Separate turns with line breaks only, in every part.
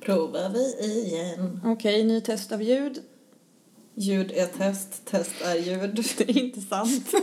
provar vi igen.
Okej, ny test av ljud.
Ljud är test, test är ljud.
Det är inte sant.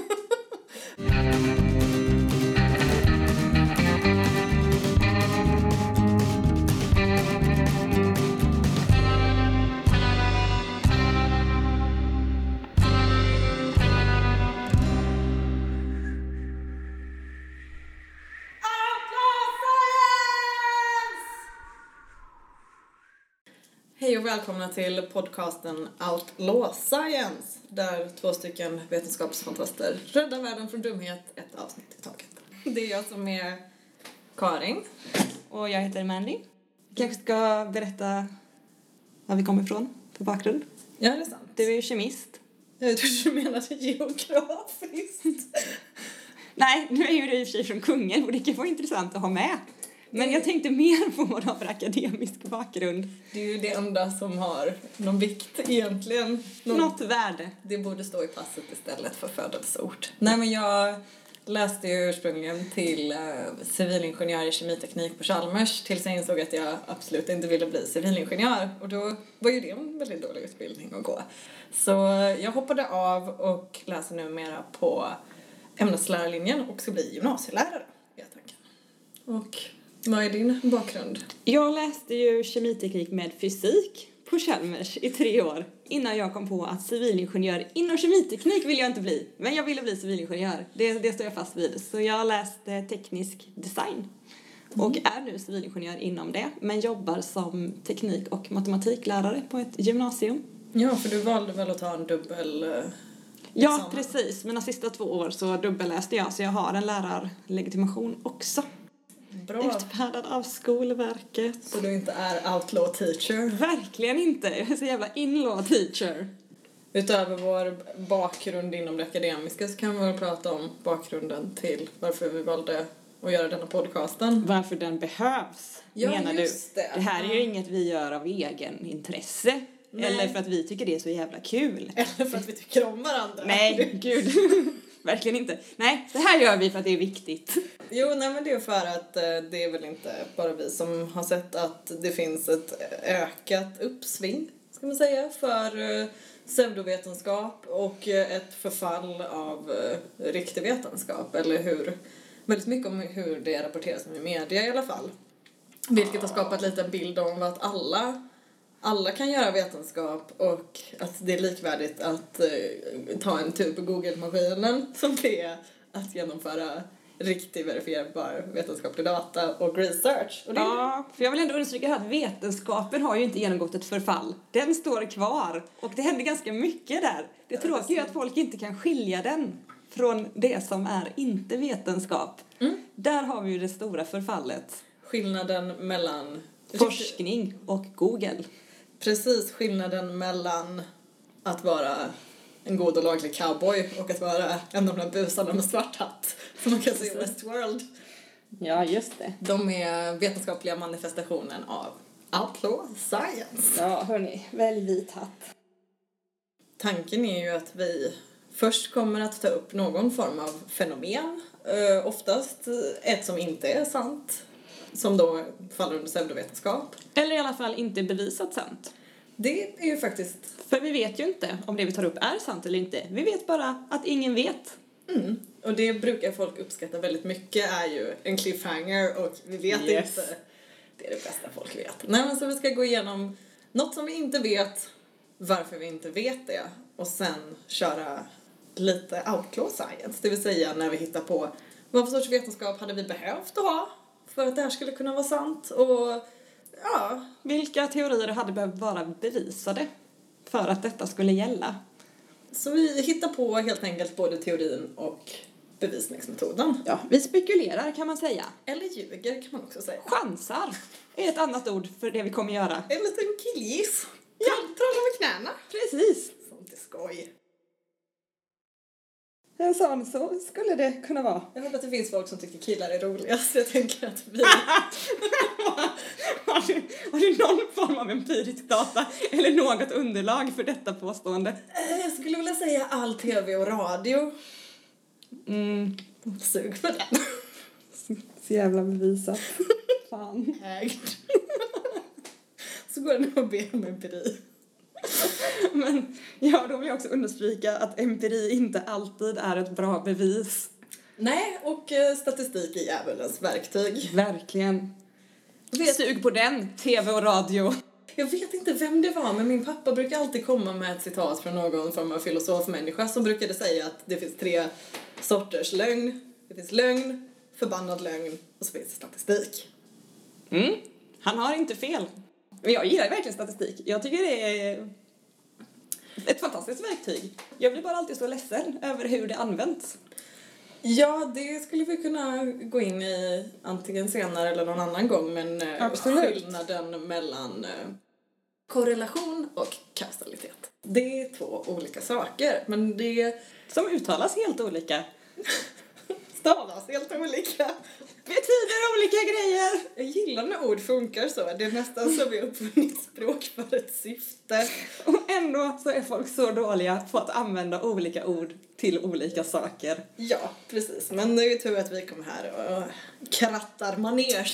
Hej och välkomna till podcasten Outlaw Science där två stycken vetenskapsfantaster räddar världen från dumhet ett avsnitt i taget. Det är jag som är Karin.
Och jag heter Mandy. Kanske ska berätta var vi kommer ifrån för bakgrund.
Ja, det är sant.
Du är ju kemist.
Jag tror du menade geografiskt.
Nej, nu är ju du i och för sig från Kungälv och det kan vara intressant att ha med. Men jag tänkte mer på vad du har för akademisk bakgrund.
Det är ju det enda som har någon vikt egentligen. Någon...
Något värde.
Det borde stå i passet istället för födelseort. Nej men jag läste ju ursprungligen till eh, civilingenjör i kemiteknik på Chalmers tills jag insåg att jag absolut inte ville bli civilingenjör och då var ju det en väldigt dålig utbildning att gå. Så jag hoppade av och läser numera på ämneslärarlinjen och ska bli gymnasielärare är tanken. Och vad är din bakgrund?
Jag läste ju kemiteknik med fysik på Chalmers i tre år innan jag kom på att civilingenjör inom kemiteknik vill jag inte bli. Men jag ville bli civilingenjör, det, det står jag fast vid. Så jag läste teknisk design och är nu civilingenjör inom det men jobbar som teknik och matematiklärare på ett gymnasium.
Ja, för du valde väl att ta en dubbel... eh,
Ja,
examen?
precis. Mina sista två år så dubbelläste jag så jag har en lärarlegitimation också.
Bra.
Utfärdad av Skolverket.
Så du inte är outlaw teacher.
Verkligen inte! Jag är så jävla inlaw teacher.
Utöver vår bakgrund inom det akademiska så kan vi väl prata om bakgrunden till varför vi valde att göra denna podcasten.
Varför den behövs,
Ja,
menar du?
just det.
det här är ju
Ja.
inget vi gör av egen intresse.
Nej.
Eller för att vi tycker det är så jävla kul.
Eller för att vi tycker om varandra.
Nej, gud. Verkligen inte. Nej, det här gör vi för att det är viktigt.
Jo, nej men det är för att eh, det är väl inte bara vi som har sett att det finns ett eh, ökat uppsving, ska man säga, för eh, pseudovetenskap och eh, ett förfall av eh, riktig vetenskap, eller hur? Väldigt mycket om hur det rapporteras om i media i alla fall. Vilket har skapat lite en bild om att alla, alla kan göra vetenskap och att det är likvärdigt att eh, ta en tur på Google-maskinen som det är att genomföra riktig verifierbar vetenskaplig data och research. Och det,
Ja, för jag vill ändå understryka här att vetenskapen har ju inte genomgått ett förfall. Den står kvar och det händer ganska mycket där. Det tråkiga är att folk inte kan skilja den från det som är inte vetenskap.
Mm.
Där har vi ju det stora förfallet.
Skillnaden mellan...
Forskning och Google.
Precis, skillnaden mellan att vara en god och laglig cowboy och att vara en av de där busarna med svart hatt som man kan se i Westworld.
Ja, just det.
De är vetenskapliga manifestationen av outlaw science.
Ja, hörni, välj vit hatt.
Tanken är ju att vi först kommer att ta upp någon form av fenomen, eh, oftast ett som inte är sant, som då faller under pseudovetenskap.
Eller i alla fall inte bevisat sant.
Det är ju faktiskt,
För vi vet ju inte om det vi tar upp är sant eller inte. Vi vet bara att ingen vet.
mm, och det brukar folk uppskatta väldigt mycket, är ju en cliffhanger och vi vet
Yes.
inte. Det är det bästa folk vet. Nej men så vi ska gå igenom något som vi inte vet, varför vi inte vet det och sen köra lite outlaw science, det vill säga när vi hittar på vad för sorts vetenskap hade vi behövt att ha för att det här skulle kunna vara sant och ja,
Vilka teorier hade behövt vara bevisade för att detta skulle gälla?
så vi hittar på helt enkelt både teorin och bevisningsmetoden.
Ja, vi spekulerar kan man säga.
Eller ljuger kan man också säga.
Chansar är ett annat ord för det vi kommer göra.
En liten killgiss. Ja, trolla med knäna.
Precis!
Sånt är skoj.
En sån så skulle det kunna vara.
Jag vet att det finns folk som tycker killar är roligast. Jag tänker att vi...
har, du, har du någon form av empirisk data eller något underlag för detta påstående?
Eh, Jag skulle vilja säga all tv och radio.
Mm,
Sug på den.
så jävla bevisat. Fan.
Ägt. Så går den och ber om empiri.
Men ja, då vill jag också understryka att empiri inte alltid är ett bra bevis.
Nej, och eh, statistik är djävulens verktyg.
Verkligen.
Vet-
Sug på den, tv och radio.
Jag vet inte vem det var, men min pappa brukar alltid komma med ett citat från någon form av filosofmänniska som brukade säga att det finns tre sorters lögn. Det finns lögn, förbannad lögn och så finns det statistik.
Mm, han har inte fel. Men jag gillar verkligen statistik. Jag tycker det är ett fantastiskt verktyg. Jag blir bara alltid så ledsen över hur det används.
Ja, det skulle vi kunna gå in i antingen senare eller någon annan gång, men eh,
Absolut.
skillnaden mellan eh, korrelation och kausalitet. Det är två olika saker, men det
Som uttalas helt olika.
stavas helt olika.
Betyder olika grejer!
Jag gillar när ord funkar så. Det är nästan som vi har uppfunnit språk för ett syfte.
Och ändå så är folk så dåliga på att använda olika ord till olika saker.
Ja, precis. Men det är ju tur att vi kom här och krattar manegen.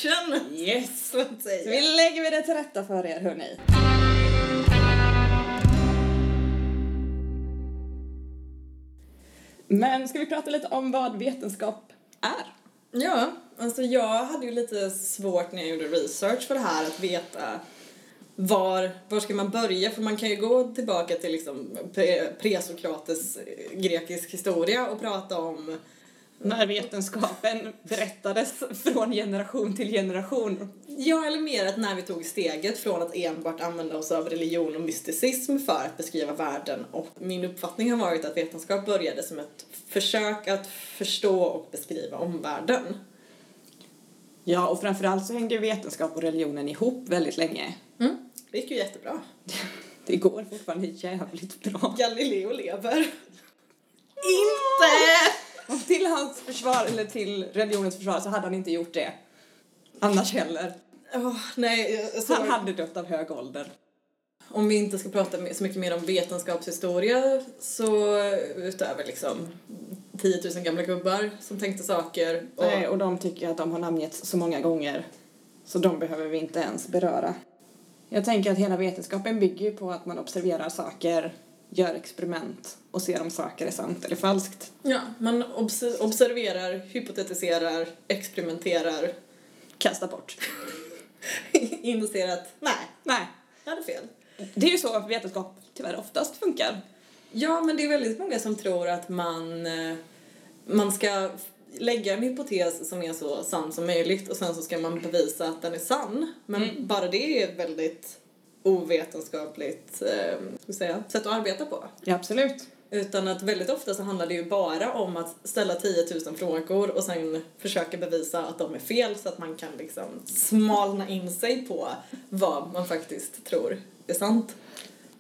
Yes!
Så att säga.
Vi lägger vi det till rätta för er, hörni. Men ska vi prata lite om vad vetenskap är?
Ja, alltså jag hade ju lite svårt när jag gjorde research för det här att veta var, var ska man börja? För man kan ju gå tillbaka till liksom pre- presokrates eh, grekisk historia och prata om
När vetenskapen berättades från generation till generation.
Ja, eller mer att när vi tog steget från att enbart använda oss av religion och mysticism för att beskriva världen och min uppfattning har varit att vetenskap började som ett försök att förstå och beskriva omvärlden.
Ja, och framförallt så hängde vetenskap och religionen ihop väldigt länge.
Det gick ju jättebra.
Det går fortfarande jävligt bra.
Galileo lever.
Inte! Och till hans försvar, eller till religionens försvar, så hade han inte gjort det. Annars heller.
Åh, nej, jag- så
Han hade dött av hög ålder.
om vi inte ska prata mer- så mycket mer om vetenskapshistoria så utöver liksom 10 000 gamla gubbar som tänkte saker och
Nej, och de tycker att de har namngetts så många gånger så de behöver vi inte ens beröra. Jag tänker att hela vetenskapen bygger ju på att man observerar saker, gör experiment och ser om saker är sant eller falskt.
Ja, man obs- observerar, hypotetiserar, experimenterar,
Kasta bort.
inser att nej,
Nej,
jag hade fel.
det är ju så vetenskap tyvärr oftast funkar.
Ja, men det är väldigt många som tror att man, eh, man ska f- lägga en hypotes som är så sann som möjligt och sen så ska man bevisa att den är sann. Men bara det är ett väldigt ovetenskapligt eh, ska jag säga, sätt att arbeta på.
Ja, absolut.
Utan att väldigt ofta så handlar det ju bara om att ställa 10 000 frågor och sen försöka bevisa att de är fel så att man kan liksom smalna in sig på vad man faktiskt tror är sant.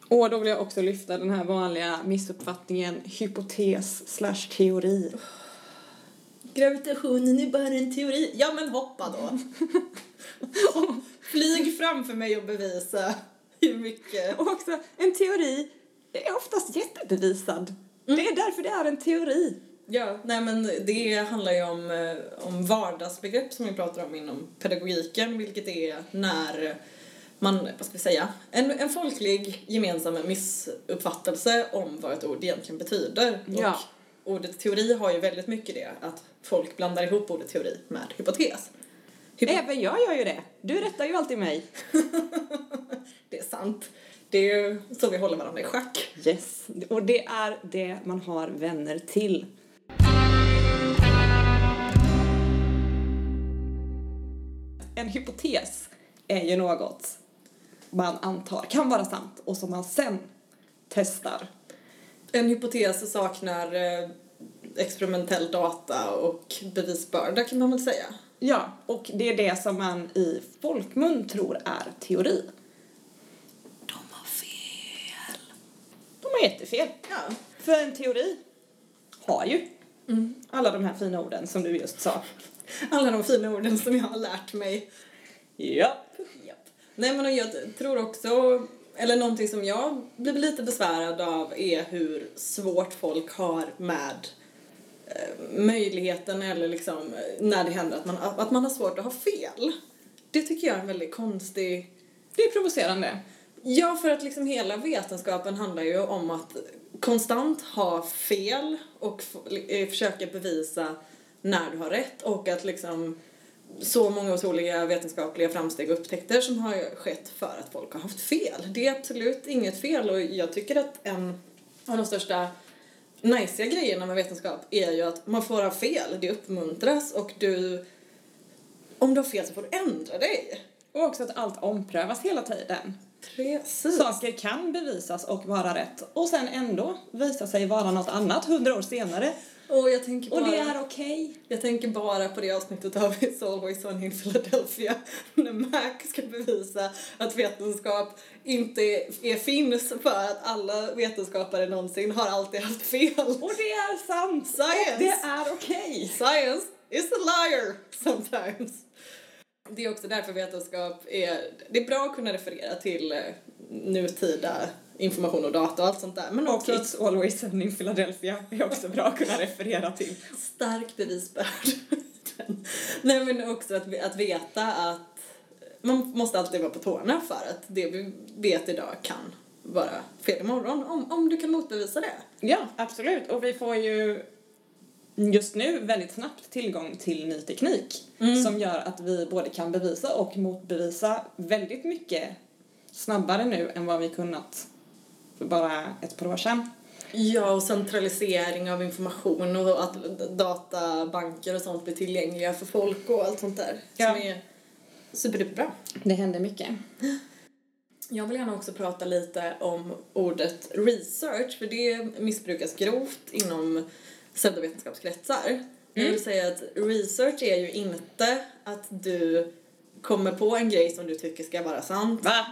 Och då vill jag också lyfta den här vanliga missuppfattningen hypotes slash teori.
Gravitationen är bara en teori. Ja men hoppa då! Och Flyg framför mig och bevisa hur mycket...
Och också, en teori är oftast jättebevisad. Det är därför det är en teori.
Ja, nej men det handlar ju om, eh, om vardagsbegrepp som vi pratar om inom pedagogiken, vilket är när man, vad ska vi säga, en, en folklig gemensam missuppfattelse om vad ett ord egentligen betyder.
Ja.
Och ordet teori har ju väldigt mycket det, att folk blandar ihop ordet teori med hypotes. Hypo-
Även jag gör ju det. Du rättar ju alltid mig.
Det är sant. Det är ju så vi håller varandra i schack.
Yes. Och det är det man har vänner till. En hypotes är ju något man antar kan vara sant och som man sen testar.
En hypotes saknar eh, experimentell data och bevisbörda kan man väl säga.
Ja, och det är det som man i folkmun tror är teori.
De har fel.
De har jättefel.
Ja.
För en teori har ju alla de här fina orden som du just sa.
Alla de fina orden som jag har lärt mig.
Ja.
Nej men och jag tror också, eller någonting som jag blir lite besvärad av är hur svårt folk har med eh, möjligheten eller liksom eh, när det händer att man, att man har svårt att ha fel. Det tycker jag är en väldigt konstig
Det är provocerande.
Ja, för att liksom hela vetenskapen handlar ju om att konstant ha fel och f- eh, försöka bevisa när du har rätt och att liksom så många otroliga vetenskapliga framsteg och upptäckter som har skett för att folk har haft fel. Det är absolut inget fel och jag tycker att en av de största najsiga grejerna med vetenskap är ju att man får ha fel, det uppmuntras och du om du har fel så får du ändra dig.
Och också att allt omprövas hela tiden.
Precis.
Saker kan bevisas och vara rätt och sen ändå visa sig vara något annat hundra år senare.
Och jag tänker bara...
Och det är okej.
Jag tänker bara på det avsnittet av It's always sunny in Philadelphia när Mac ska bevisa att vetenskap inte är, är, finns för att alla vetenskapare någonsin har alltid haft fel.
Och det är sant!
Science.
Och det är okej!
Science is a liar sometimes. Det är också därför vetenskap är... Det är bra att kunna referera till eh, nutida information och data och allt sånt där. Men
Och
också
It's always sunny in Philadelphia är också bra att kunna referera till.
stark bevisbörd. Nej men också att, att veta att man måste alltid vara på tårna för att det vi vet idag kan vara fel imorgon om, om du kan motbevisa det.
Ja, absolut. Och vi får ju just nu väldigt snabbt tillgång till ny teknik som gör att vi både kan bevisa och motbevisa väldigt mycket snabbare nu än vad vi kunnat för bara ett par år sedan.
Ja, och centralisering av information och att databanker och sånt blir tillgängliga för folk och allt sånt där
Ja.
som är superduperbra.
Det händer mycket.
Jag vill gärna också prata lite om ordet research för det missbrukas grovt inom pseudovetenskapskretsar. Jag vill säga att research är ju inte att du kommer på en grej som du tycker ska vara sant
Va?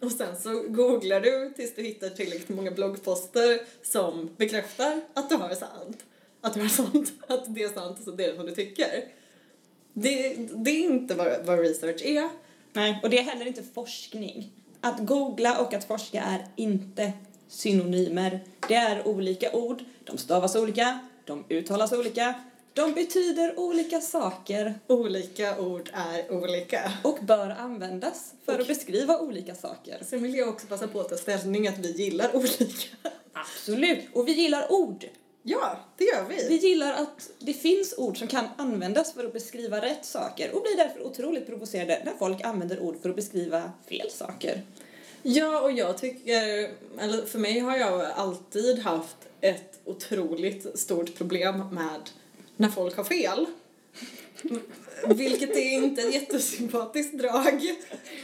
och sen så googlar du tills du hittar tillräckligt många bloggposter som bekräftar att du har sant. Att du har sant, att det är sant och så det är det som du tycker. Det, det är inte vad, vad research är.
Nej, och det är heller inte forskning. Att googla och att forska är inte synonymer. Det är olika ord, de stavas olika, de uttalas olika, de betyder olika saker
Olika ord är olika.
och bör användas för att beskriva olika saker.
Sen vill jag också passa på att ta ställning att vi gillar olika.
Absolut! Och vi gillar ord.
Ja, det gör vi.
Vi gillar att det finns ord som kan användas för att beskriva rätt saker och blir därför otroligt provocerade när folk använder ord för att beskriva fel saker.
Ja, och jag tycker, eller för mig har jag alltid haft ett otroligt stort problem med när folk har fel. Vilket är inte ett jättesympatiskt drag.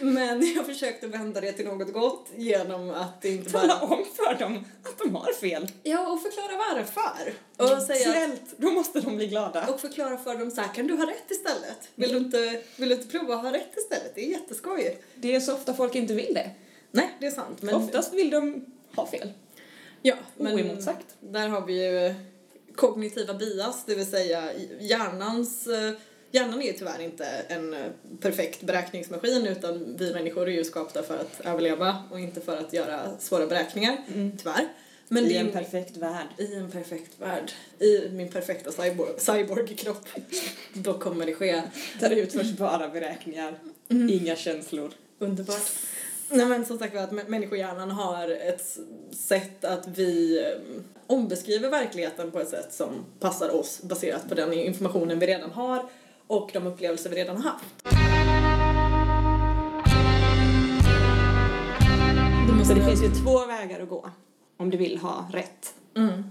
Men jag försökte vända det till något gott genom att inte
Tala
bara...
om för dem att de har fel.
Ja, och förklara varför. Och säga...
Snällt, då måste de bli glada.
Och förklara för dem så här, kan du ha rätt istället? Vill du inte, vill du inte prova att ha rätt istället? Det är jätteskoj.
Det är så ofta folk inte vill det.
Nej, det är sant. Men,
Oftast vill de ha fel.
ja, men
Oemotsagt.
Där har vi ju eh, kognitiva bias, det vill säga hjärnans... eh, Hjärnan är ju tyvärr inte en eh, perfekt beräkningsmaskin utan vi människor är ju skapta för att överleva och inte för att göra svåra beräkningar, tyvärr. Men det
Mm. I
är
en
ju-
perfekt värld.
I en perfekt värld, i min perfekta cyborg- cyborg-kropp, då kommer det ske
Där utförs bara beräkningar,
Mm.
inga känslor.
Underbart. Nej men som sagt var att mä- människohjärnan har ett s- sätt att vi ehm, ombeskriver verkligheten på ett sätt som passar oss baserat på den informationen vi redan har och de upplevelser vi redan har haft.
Så det finns ju två vägar att gå om du vill ha rätt.
Mm.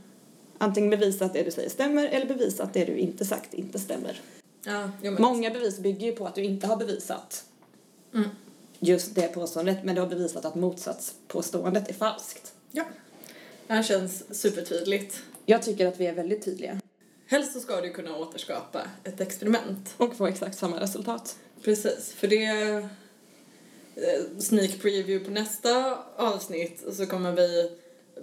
Antingen bevisa att det du säger stämmer eller bevisa att det du inte sagt inte stämmer.
Ja, jo, men,
Många bevis bygger ju på att du inte har bevisat
Mm.
just det påståendet men du har bevisat att motsatspåståendet är falskt.
ja. Det här känns supertydligt.
Jag tycker att vi är väldigt tydliga
Helst så ska du kunna återskapa ett experiment.
och får exakt samma resultat.
Precis, för det... eh, Sneak preview på nästa avsnitt så kommer vi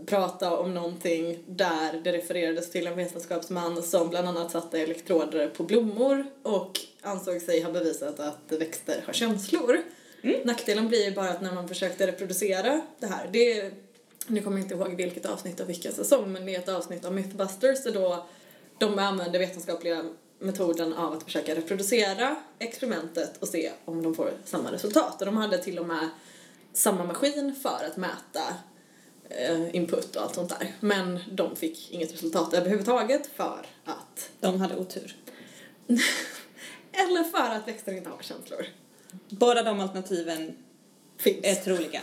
prata om någonting där det refererades till en vetenskapsman som bland annat satte elektroder på blommor och ansåg sig ha bevisat att växter har känslor. Nackdelen blir ju bara att när man försökte reproducera det här, det är, nu kommer jag inte ihåg vilket avsnitt och vilken säsong, men det är ett avsnitt av Mythbusters där då de använder vetenskapliga metoden av att försöka reproducera experimentet och se om de får samma resultat. Och de hade till och med samma maskin för att mäta eh, input och allt sånt där. Men de fick inget resultat överhuvudtaget för att...
De hade otur.
Eller för att växter inte har känslor.
Båda de alternativen
Finns.
är troliga.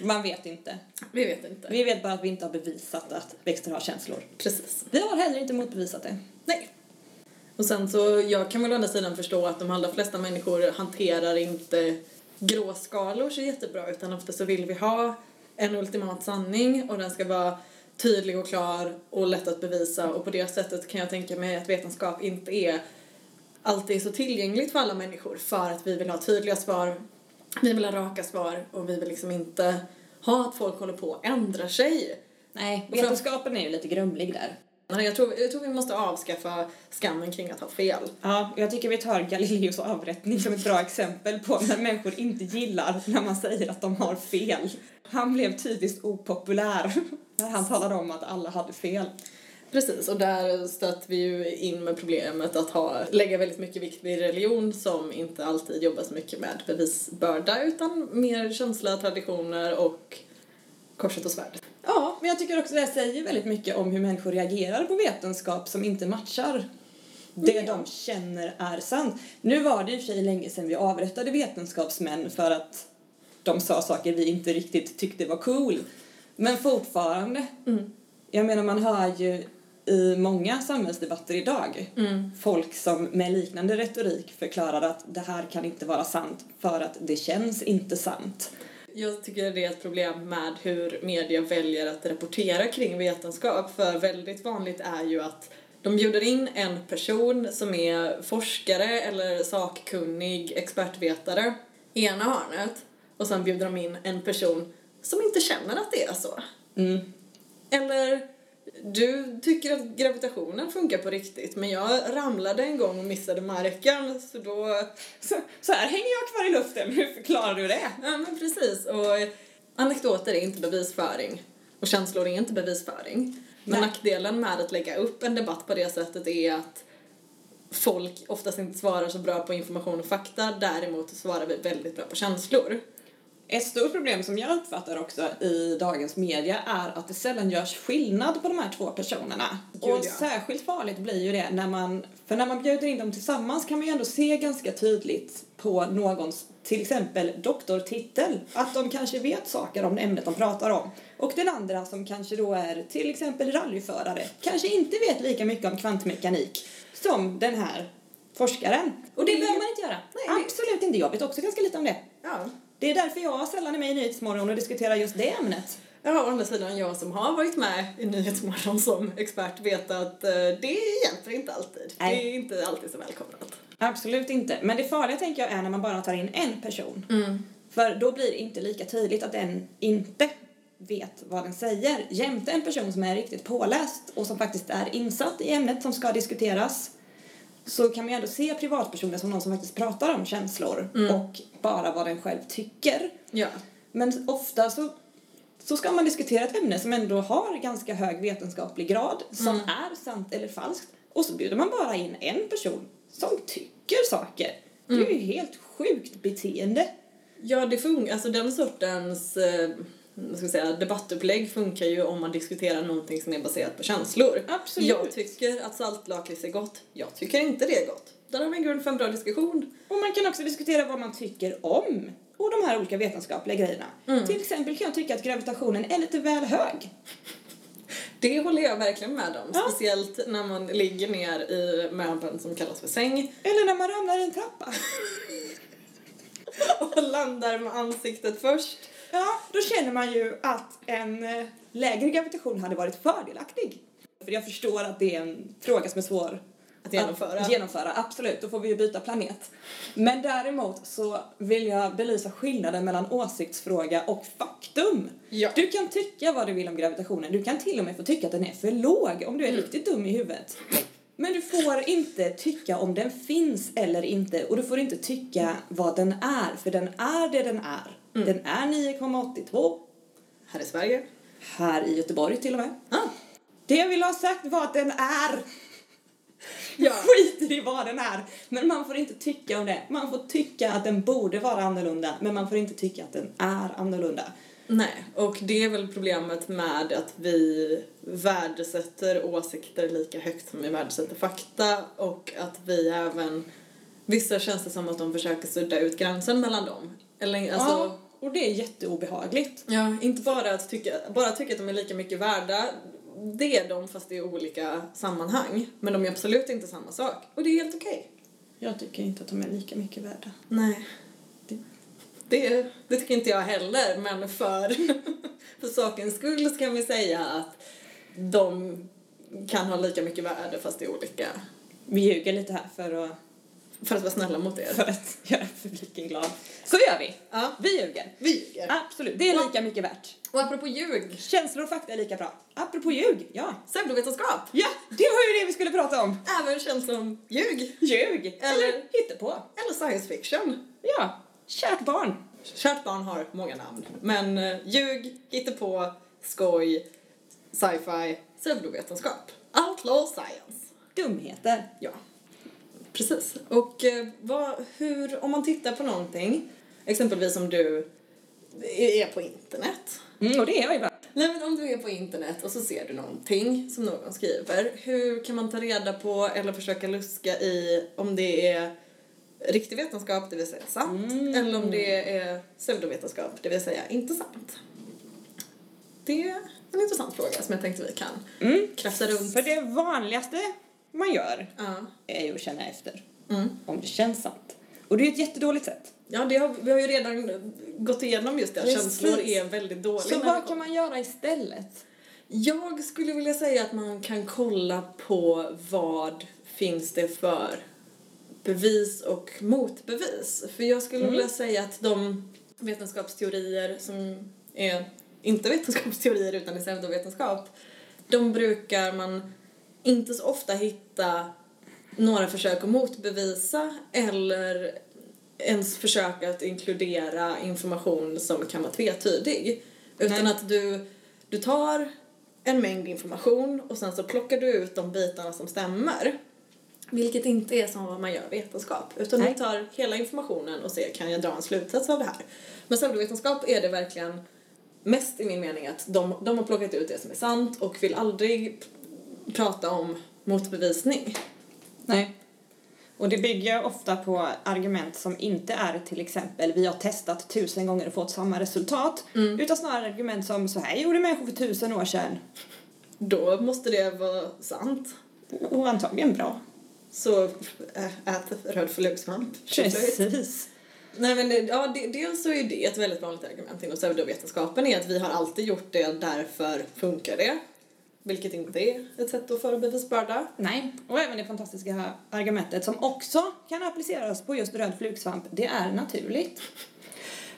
Man vet inte.
Vi vet inte.
Vi vet bara att vi inte har bevisat att växter har känslor.
Precis.
Vi har heller inte motbevisat det.
Nej. Och sen så, jag kan väl å andra sidan förstå att de allra flesta människor hanterar inte gråskalor så jättebra utan ofta så vill vi ha en ultimat sanning och den ska vara tydlig och klar och lätt att bevisa och på det sättet kan jag tänka mig att vetenskap inte är alltid så tillgängligt för alla människor för att vi vill ha tydliga svar, vi vill ha raka svar och vi vill liksom inte ha att folk håller på och ändrar sig.
Nej, vetenskapen är ju lite grumlig där.
Nej, Jag tror, jag tror vi måste avskaffa skammen kring att ha fel.
Ja, jag tycker vi tar Galileos avrättning som ett bra exempel på när människor inte gillar när man säger att de har fel. Han blev tydligt opopulär när han talade om att alla hade fel.
Precis, och där stötte vi ju in med problemet att ha, lägga väldigt mycket vikt vid religion som inte alltid jobbar så mycket med bevisbörda utan mer känsla, traditioner och korset och svärd.
Ja, men jag tycker också det här säger väldigt mycket om hur människor reagerar på vetenskap som inte matchar det de känner är sant. Nu var det i och för sig länge sedan vi avrättade vetenskapsmän för att de sa saker vi inte riktigt tyckte var cool. Men fortfarande. Jag menar, man hör ju i många samhällsdebatter idag folk som med liknande retorik förklarar att det här kan inte vara sant för att det känns inte sant.
Jag tycker det är ett problem med hur media väljer att rapportera kring vetenskap för väldigt vanligt är ju att de bjuder in en person som är forskare eller sakkunnig expertvetare i ena hörnet och sen bjuder de in en person som inte känner att det är så. Eller du tycker att gravitationen funkar på riktigt men jag ramlade en gång och missade marken så då
Så, så här hänger jag kvar i luften, hur förklarar du det?
Ja, men precis. Och eh, anekdoter är inte bevisföring och känslor är inte bevisföring. Men
Nej.
nackdelen med att lägga upp en debatt på det sättet är att folk oftast inte svarar så bra på information och fakta, däremot svarar vi väldigt bra på känslor.
Ett stort problem som jag uppfattar också i dagens media är att det sällan görs skillnad på de här två personerna.
Gud,
och
ja.
särskilt farligt blir ju det när man, för när man bjuder in dem tillsammans kan man ju ändå se ganska tydligt på någons, till exempel doktortitel, att de kanske vet saker om ämnet de pratar om. Och den andra som kanske då är till exempel rallyförare, kanske inte vet lika mycket om kvantmekanik som den här forskaren. Och det
Det-
behöver man inte göra.
Mm. Nej, det-
Absolut inte. Jag vet också ganska lite om det.
Ja.
Det är därför jag sällan är med i Nyhetsmorgon och diskuterar just det ämnet.
Ja, å andra sidan jag som har varit med i Nyhetsmorgon som expert vet att eh, det hjälper inte alltid.
Nej.
Det är inte alltid så välkomnat.
Absolut inte. Men det farliga tänker jag är när man bara tar in en person. För då blir det inte lika tydligt att den inte vet vad den säger. Jämte en person som är riktigt påläst och som faktiskt är insatt i ämnet som ska diskuteras så kan man ju ändå se privatpersoner som någon som faktiskt pratar om känslor och bara vad den själv tycker.
Ja.
Men ofta så, så ska man diskutera ett ämne som ändå har ganska hög vetenskaplig grad, som är sant eller falskt. Och så bjuder man bara in en person som tycker saker. Det är ju helt sjukt beteende.
Ja, det funkar. Alltså den sortens eh, vad ska jag säga, debattupplägg funkar ju om man diskuterar någonting som är baserat på känslor.
Absolut.
Jag tycker att saltlakrits är gott. Jag tycker inte det är gott. Där har vi en grund för en bra diskussion.
Och man kan också diskutera vad man tycker om och de här olika vetenskapliga grejerna. Till exempel kan jag tycka att gravitationen är lite väl hög.
Det håller jag verkligen med om.
Ja.
Speciellt när man ligger ner i möbeln som kallas för säng
Eller när man ramlar i en trappa.
och landar med ansiktet först.
Ja, då känner man ju att en eh, lägre gravitation hade varit fördelaktig. För jag förstår att det är en fråga som är svår
Att genomföra.
Att genomföra, absolut. Då får vi ju byta planet. Men däremot så vill jag belysa skillnaden mellan åsiktsfråga och faktum.
Ja.
Du kan tycka vad du vill om gravitationen. Du kan till och med få tycka att den är för låg om du är
Mm.
riktigt dum i huvudet. Men du får inte tycka om den finns eller inte och du får inte tycka vad den är för den är det den är.
Mm.
Den är 9,82
Här i Sverige.
här i Göteborg till och med.
Ah.
Det jag ville ha sagt var att den är
Ja.
skiter i vad den är. Men man får inte tycka om det. Man får tycka att den borde vara annorlunda, men man får inte tycka att den är annorlunda.
Nej, och det är väl problemet med att vi värdesätter åsikter lika högt som vi värdesätter fakta och att vi även... Vissa känns det som att de försöker sudda ut gränsen mellan dem. Eller alltså...
ja, och det är jätteobehagligt.
Ja, inte bara att tycka, bara att tycka att de är lika mycket värda. Det är de fast i olika sammanhang. Men de är absolut inte samma sak. Och det är helt okej.
Jag tycker inte att de är lika mycket värda.
Nej.
Det-
Det, det tycker inte jag heller, men för, för sakens skull så kan vi säga att de kan ha lika mycket värde fast det är olika.
Vi ljuger lite här för att,
För att vara snälla mot er.
för att göra publiken glad. Så gör vi!
Ja,
Vi ljuger.
vi ljuger.
Absolut, det är lika mycket värt.
Och apropå ljug,
Känslor och fakta är lika bra. Apropå ljug, ja.
pseudovetenskap,
Ja, det var ju det vi skulle prata om.
även känt som ljug,
Ljug! Eller
Eller-
hittepå.
eller science fiction.
Ja, kärt barn.
Kärt barn har många namn, men eh, ljug, hittepå, skoj, sci-fi, pseudovetenskap. Outlaw science.
Dumheter.
Ja, precis. Och eh, vad, hur, om man tittar på någonting, exempelvis om du är på internet.
Mm, och det är jag ju bara.
Nej men om du är på internet och så ser du någonting som någon skriver, hur kan man ta reda på eller försöka luska i om det är riktig vetenskap, det vill säga sant,
Mm.
eller om det är pseudovetenskap, det vill säga inte sant? Det är en intressant fråga som jag tänkte vi kan
Mm.
krafsa runt.
För det vanligaste man gör
Ja.
är ju att känna efter
Mm.
om det känns sant. Och det är ju ett jättedåligt sätt.
Ja, det har, vi har ju redan gått igenom just det. att
Precis.
Känslor är väldigt dåliga.
Så
när det
vad kan
kommer.
man göra istället?
Jag skulle vilja säga att man kan kolla på vad finns det för bevis och motbevis. För jag skulle vilja säga att de vetenskapsteorier som är inte vetenskapsteorier utan är pseudovetenskap, de brukar man inte så ofta hitta några försök att motbevisa eller ens försök att inkludera information som kan vara tvetydig. Utan att du, du tar en mängd information och sen så plockar du ut de bitarna som stämmer. Vilket inte är som vad man gör i vetenskap. Utan
Nej.
du tar hela informationen och ser kan jag dra en slutsats av det här. Men pseudovetenskap är det verkligen mest i min mening att de, de har plockat ut det som är sant och vill aldrig p- prata om motbevisning.
Nej. Och det bygger ofta på argument som inte är till exempel vi har testat tusen gånger och fått samma resultat. Utan snarare argument som så här gjorde människor för tusen år sedan.
Då måste det vara sant.
Och- Och antagligen bra.
Så äh, ät röd förlugssvamp.
Precis.
Nej men det, ja, det, dels så är det ett väldigt vanligt argument inom pseudovetenskapen är att vi har alltid gjort det, därför funkar det. Vilket inte är ett sätt att föra bevisbörda.
Nej. Och även det fantastiska argumentet som också kan appliceras på just röd flugsvamp. Det är naturligt.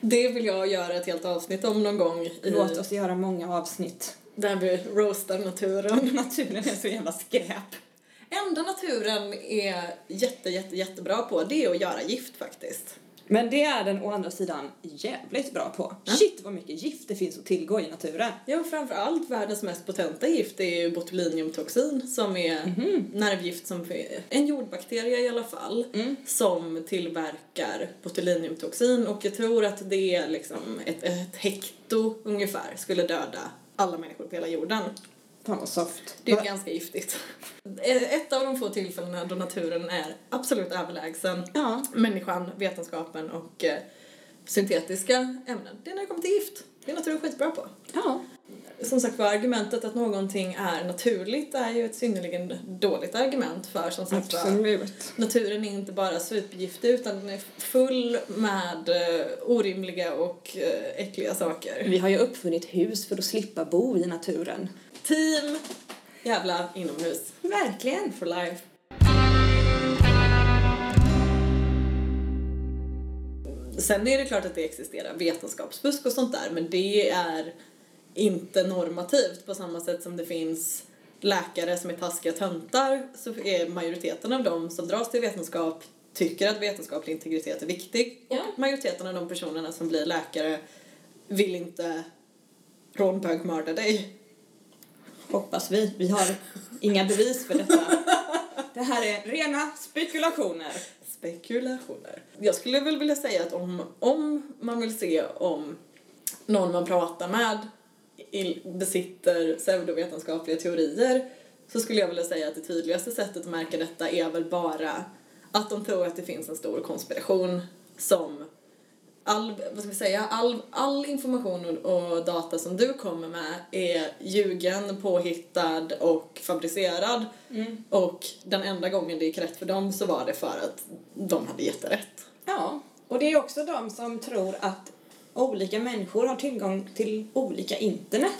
Det vill jag göra ett helt avsnitt om någon gång i,
Låt oss göra många avsnitt.
där vi roastar naturen.
Naturen är så jävla skräp.
enda naturen är jätte, jätte, jättebra på det är att göra gift faktiskt.
Men det är den å andra sidan jävligt bra på. Shit vad mycket gift det finns att tillgå i naturen.
Ja, och framförallt världens mest potenta gift är ju botulinumtoxin som är
Mhm.
nervgift som en jordbakterie i alla fall
Mm.
som tillverkar botulinumtoxin och jag tror att det är liksom ett, ett hekto ungefär skulle döda alla människor på hela jorden.
Fan vad soft.
Det är ju ganska giftigt. Ett av de få tillfällena då naturen är absolut överlägsen
Ja.
människan, vetenskapen och eh, syntetiska ämnen. Det är när det kommer till gift. Det är naturen skitbra på.
ja.
Som sagt var, argumentet att någonting är naturligt är ju ett synnerligen dåligt argument för som sagt var,
Absolut.
naturen är inte bara supergiftig utan den är full med eh, orimliga och eh, äckliga saker.
Vi har ju uppfunnit hus för att slippa bo i naturen.
Team jävla inomhus.
Verkligen.
For life. Sen är det klart att det existerar vetenskapsfusk och sånt där men det är inte normativt på samma sätt som det finns läkare som är taskiga töntar så är majoriteten av dem som dras till vetenskap tycker att vetenskaplig integritet är viktig
Ja.
och majoriteten av de personerna som blir läkare vill inte rånbögmörda dig.
Hoppas vi. Vi har inga bevis för detta. det här är rena spekulationer.
Spekulationer. Jag skulle väl vilja säga att om, om man vill se om någon man pratar med i- besitter pseudovetenskapliga teorier så skulle jag vilja säga att det tydligaste sättet att märka detta är väl bara att de tror att det finns en stor konspiration som all, vad ska vi säga, all, all information och, och data som du kommer med är ljugen, påhittad och fabricerad. Och den enda gången det gick rätt för dem så var det för att de hade jätterätt.
Ja, och det är också de som tror att olika människor har tillgång till olika internet.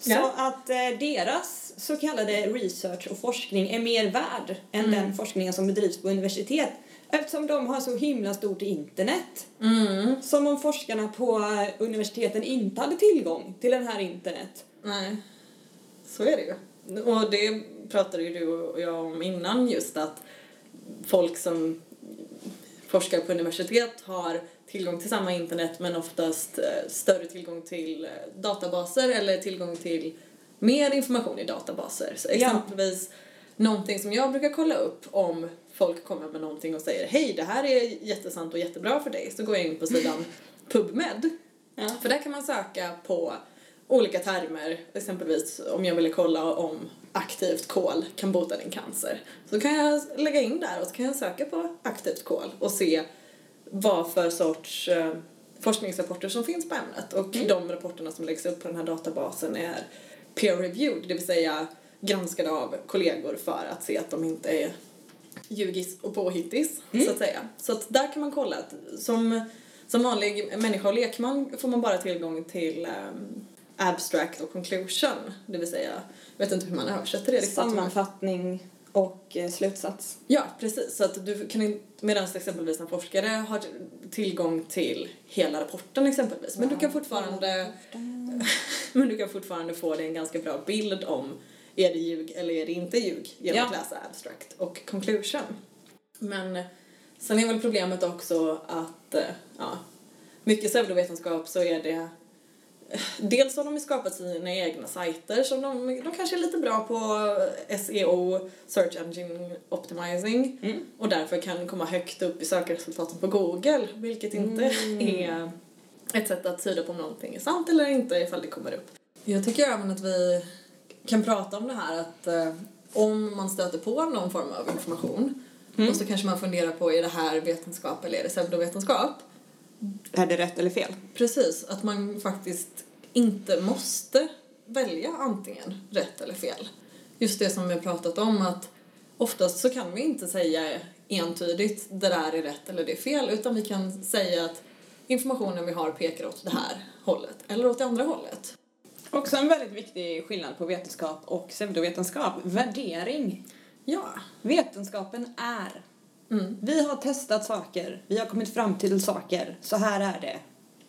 Så
Ja.
att eh, deras så kallade research och forskning är mer värd än den forskningen som bedrivs på universitet. Eftersom de har så himla stort internet. Som om forskarna på eh, universiteten inte hade tillgång till den här internet.
Nej. Så är det ju. Och det pratade ju du och jag om innan just att folk som forskar på universitet har tillgång till samma internet men oftast eh, större tillgång till eh, databaser eller tillgång till mer information i databaser. Så exempelvis någonting som jag brukar kolla upp om folk kommer med någonting och säger hej det här är jättesant och jättebra för dig så går jag in på sidan PubMed
Ja.
för där kan man söka på olika termer, exempelvis om jag ville kolla om aktivt kol kan bota din cancer. Så kan jag lägga in där och så kan jag söka på aktivt kol och se vad för sorts eh, forskningsrapporter som finns på ämnet. Och de rapporterna som läggs upp på den här databasen är peer-reviewed, det vill säga granskade av kollegor för att se att de inte är ljugis och påhittis, så att säga. Så att där kan man kolla att som, som vanlig människa och lekman får man bara tillgång till ehm, abstract och conclusion, det vill säga, jag vet inte hur man översätter det riktigt.
Sammanfattning och eh, slutsats.
Ja, precis. Så att du kan inte, medan exempelvis en forskare har tillgång till hela rapporten exempelvis, men du kan fortfarande men du kan fortfarande få dig en ganska bra bild om är det ljug eller är det inte ljug genom
Ja.
att läsa abstract och conclusion. Men sen är väl problemet också att eh, ja, mycket pseudovetenskap så är det eh, Dels har de ju skapat sina egna sajter som de, de kanske är lite bra på eh, SEO, Search Engine Optimizing
Mm.
och därför kan komma högt upp i sökresultaten på Google vilket inte
Mm.
är ett sätt att tyda på om någonting är sant eller inte ifall det kommer upp. Jag tycker även att vi kan prata om det här att eh, om man stöter på någon form av information och så kanske man funderar på är det här vetenskap eller är det pseudovetenskap?
Är det rätt eller fel?
Precis, att man faktiskt inte måste välja antingen rätt eller fel. Just det som vi har pratat om att oftast så kan vi inte säga entydigt det där är rätt eller det är fel utan vi kan säga att informationen vi har pekar åt det här hållet eller åt det andra hållet.
Också en väldigt viktig skillnad på vetenskap och pseudovetenskap. Värdering.
Ja.
Vetenskapen är. Vi har testat saker. Vi har kommit fram till saker. Så här är det.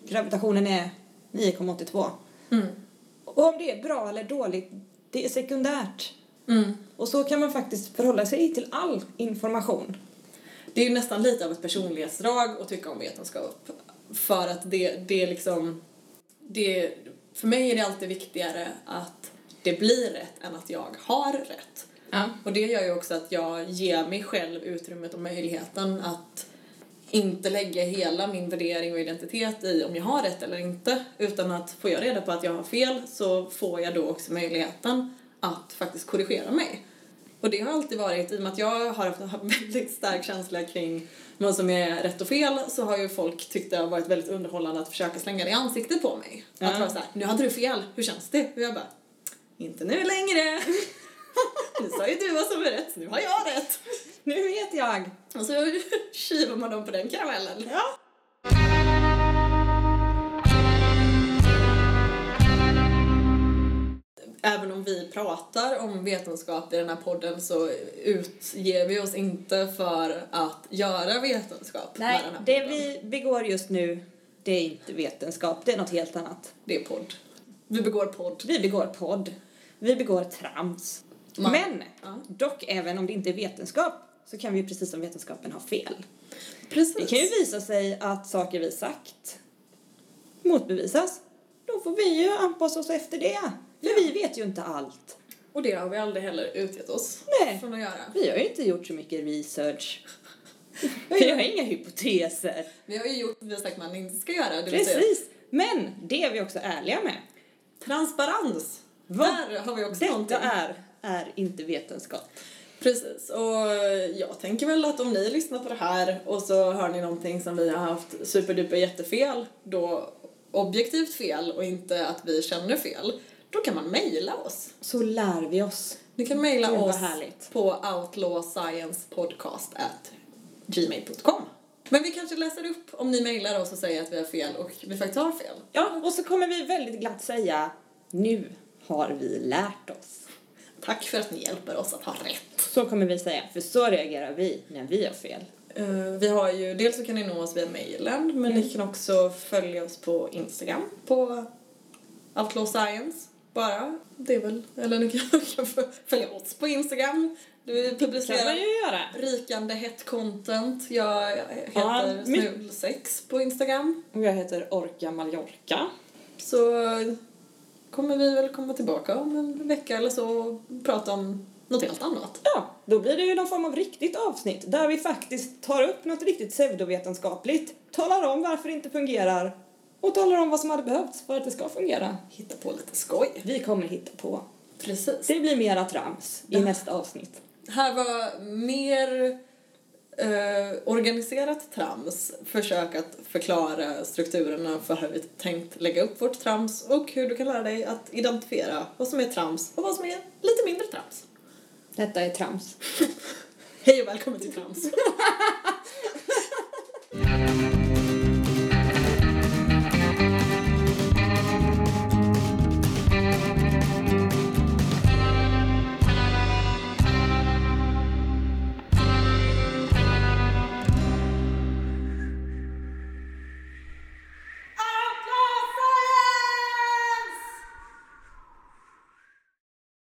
Gravitationen är 9,82. Och om det är bra eller dåligt, det är sekundärt. Och så kan man faktiskt förhålla sig till all information.
Det är ju nästan lite av ett personlighetsdrag att tycka om vetenskap. För att det, det är liksom... Det, för mig är det alltid viktigare att det blir rätt än att jag har rätt.
Ja.
Och det gör ju också att jag ger mig själv utrymmet och möjligheten att inte lägga hela min värdering och identitet i om jag har rätt eller inte. Utan att får jag reda på att jag har fel så får jag då också möjligheten att faktiskt korrigera mig. Och det har alltid varit, i och med att jag har haft en väldigt stark känsla kring vad som är rätt och fel så har ju folk tyckt det har varit väldigt underhållande att försöka slänga det i ansiktet på mig. Att
Ja.
vara såhär, nu hade du fel, hur känns det? Och jag bara, inte nu längre! Nu sa ju du vad som är rätt, nu har jag rätt.
Nu vet jag!
Och så kivar man dem på den karamellen.
Ja.
Även om vi pratar om vetenskap i den här podden så utger vi oss inte för att göra vetenskap
Nej,
med den här
det
podden.
vi begår just nu, det är inte vetenskap. Det är något helt annat.
Det är podd. Vi begår podd.
Vi begår podd. Vi begår trams.
Man-
Men,
Ja.
dock även om det inte är vetenskap så kan vi ju precis som vetenskapen ha fel.
Precis.
Det kan ju visa sig att saker vi sagt motbevisas. Då får vi ju anpassa oss efter det. För vi vet ju inte allt.
Och det har vi aldrig heller utgett oss
Nej.
från att göra.
Vi har ju inte gjort så mycket research. Vi har inga hypoteser.
Vi har ju gjort det vi har sagt man inte ska göra. Det vill säga
Precis. Men det är vi också ärliga med.
transparens.
Va?
Där har vi också någonting.
Detta är, är inte vetenskap.
Precis, och jag tänker väl att om ni lyssnar på det här och så hör ni någonting som vi har haft superduper jättefel, då objektivt fel och inte att vi känner fel, då kan man mejla oss.
Så lär vi oss.
Ni kan mejla
Gud, vad
oss
härligt.
på outlawsciencepodcast.gmail.com Men vi kanske läser upp om ni mejlar oss och säger att vi har fel och vi faktiskt har fel.
Ja, och så kommer vi väldigt glatt säga nu har vi lärt oss.
Tack för att ni hjälper oss att ha rätt.
Så kommer vi säga, för så reagerar vi när vi har fel.
Eh, vi har ju, dels så kan ni nå oss via mejlen, men
Mm.
ni kan också följa oss på Instagram på Outlaw Science bara. Det är väl, eller ni kan, kan följa oss på Instagram. Du
Det kan man ju
publicerar
göra.
rikande hett content. Jag
Ja,
heter
my-
Snulsex på Instagram.
Och jag heter Orka Mallorca.
Så kommer vi väl komma tillbaka om en vecka eller så och prata om något helt annat.
Ja, då blir det ju någon form av riktigt avsnitt där vi faktiskt tar upp något riktigt pseudovetenskapligt, talar om varför det inte fungerar och talar om vad som hade behövts för att det ska fungera.
Hitta på lite skoj.
Vi kommer hitta på.
Precis.
Det blir mera trams i nästa avsnitt.
här var mer eh, organiserat trams. Försök att förklara strukturerna för hur vi tänkt lägga upp vårt trams och hur du kan lära dig att identifiera vad som är trams och vad som är lite mindre trams.
Detta är trams.
Hej och välkommen till Trams.